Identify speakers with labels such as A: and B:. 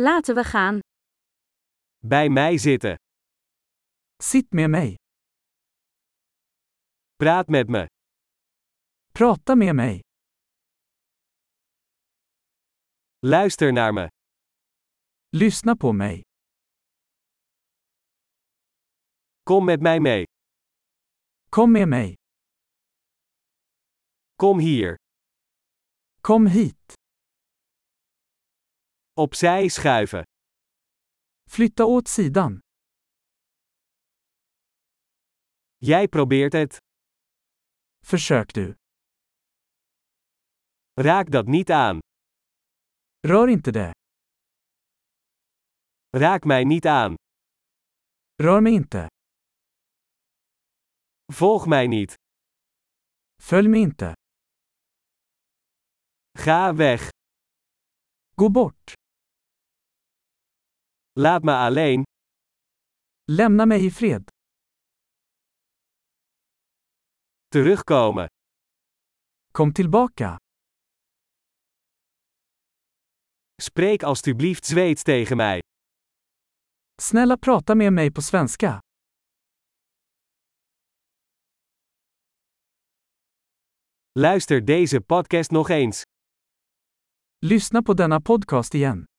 A: Laten we gaan.
B: Bij mij zitten.
C: Sitt med mig.
B: Praat met me.
C: Prata med mig.
B: Luister naar me.
C: Lyssna på mig.
B: Kom met mij mee.
C: Kom med mig.
B: Kom hier.
C: Kom hit.
B: Opzij schuiven.
C: Flytta åt sidan.
B: Jij probeert het.
C: Försök du.
B: Raak dat niet aan.
C: Rör inte det.
B: Raak mij niet aan.
C: Rör mig inte.
B: Volg mij niet.
C: Följ mig inte.
B: Ga weg.
C: Gå bort.
B: Laat me alleen.
C: Lämna mig i fred.
B: Terugkomen.
C: Kom tillbaka.
B: Spreek alstublieft Zweeds tegen mij.
C: Snälla prata med mig på svenska.
B: Luister deze podcast nog eens.
C: Lyssna på denna podcast igen.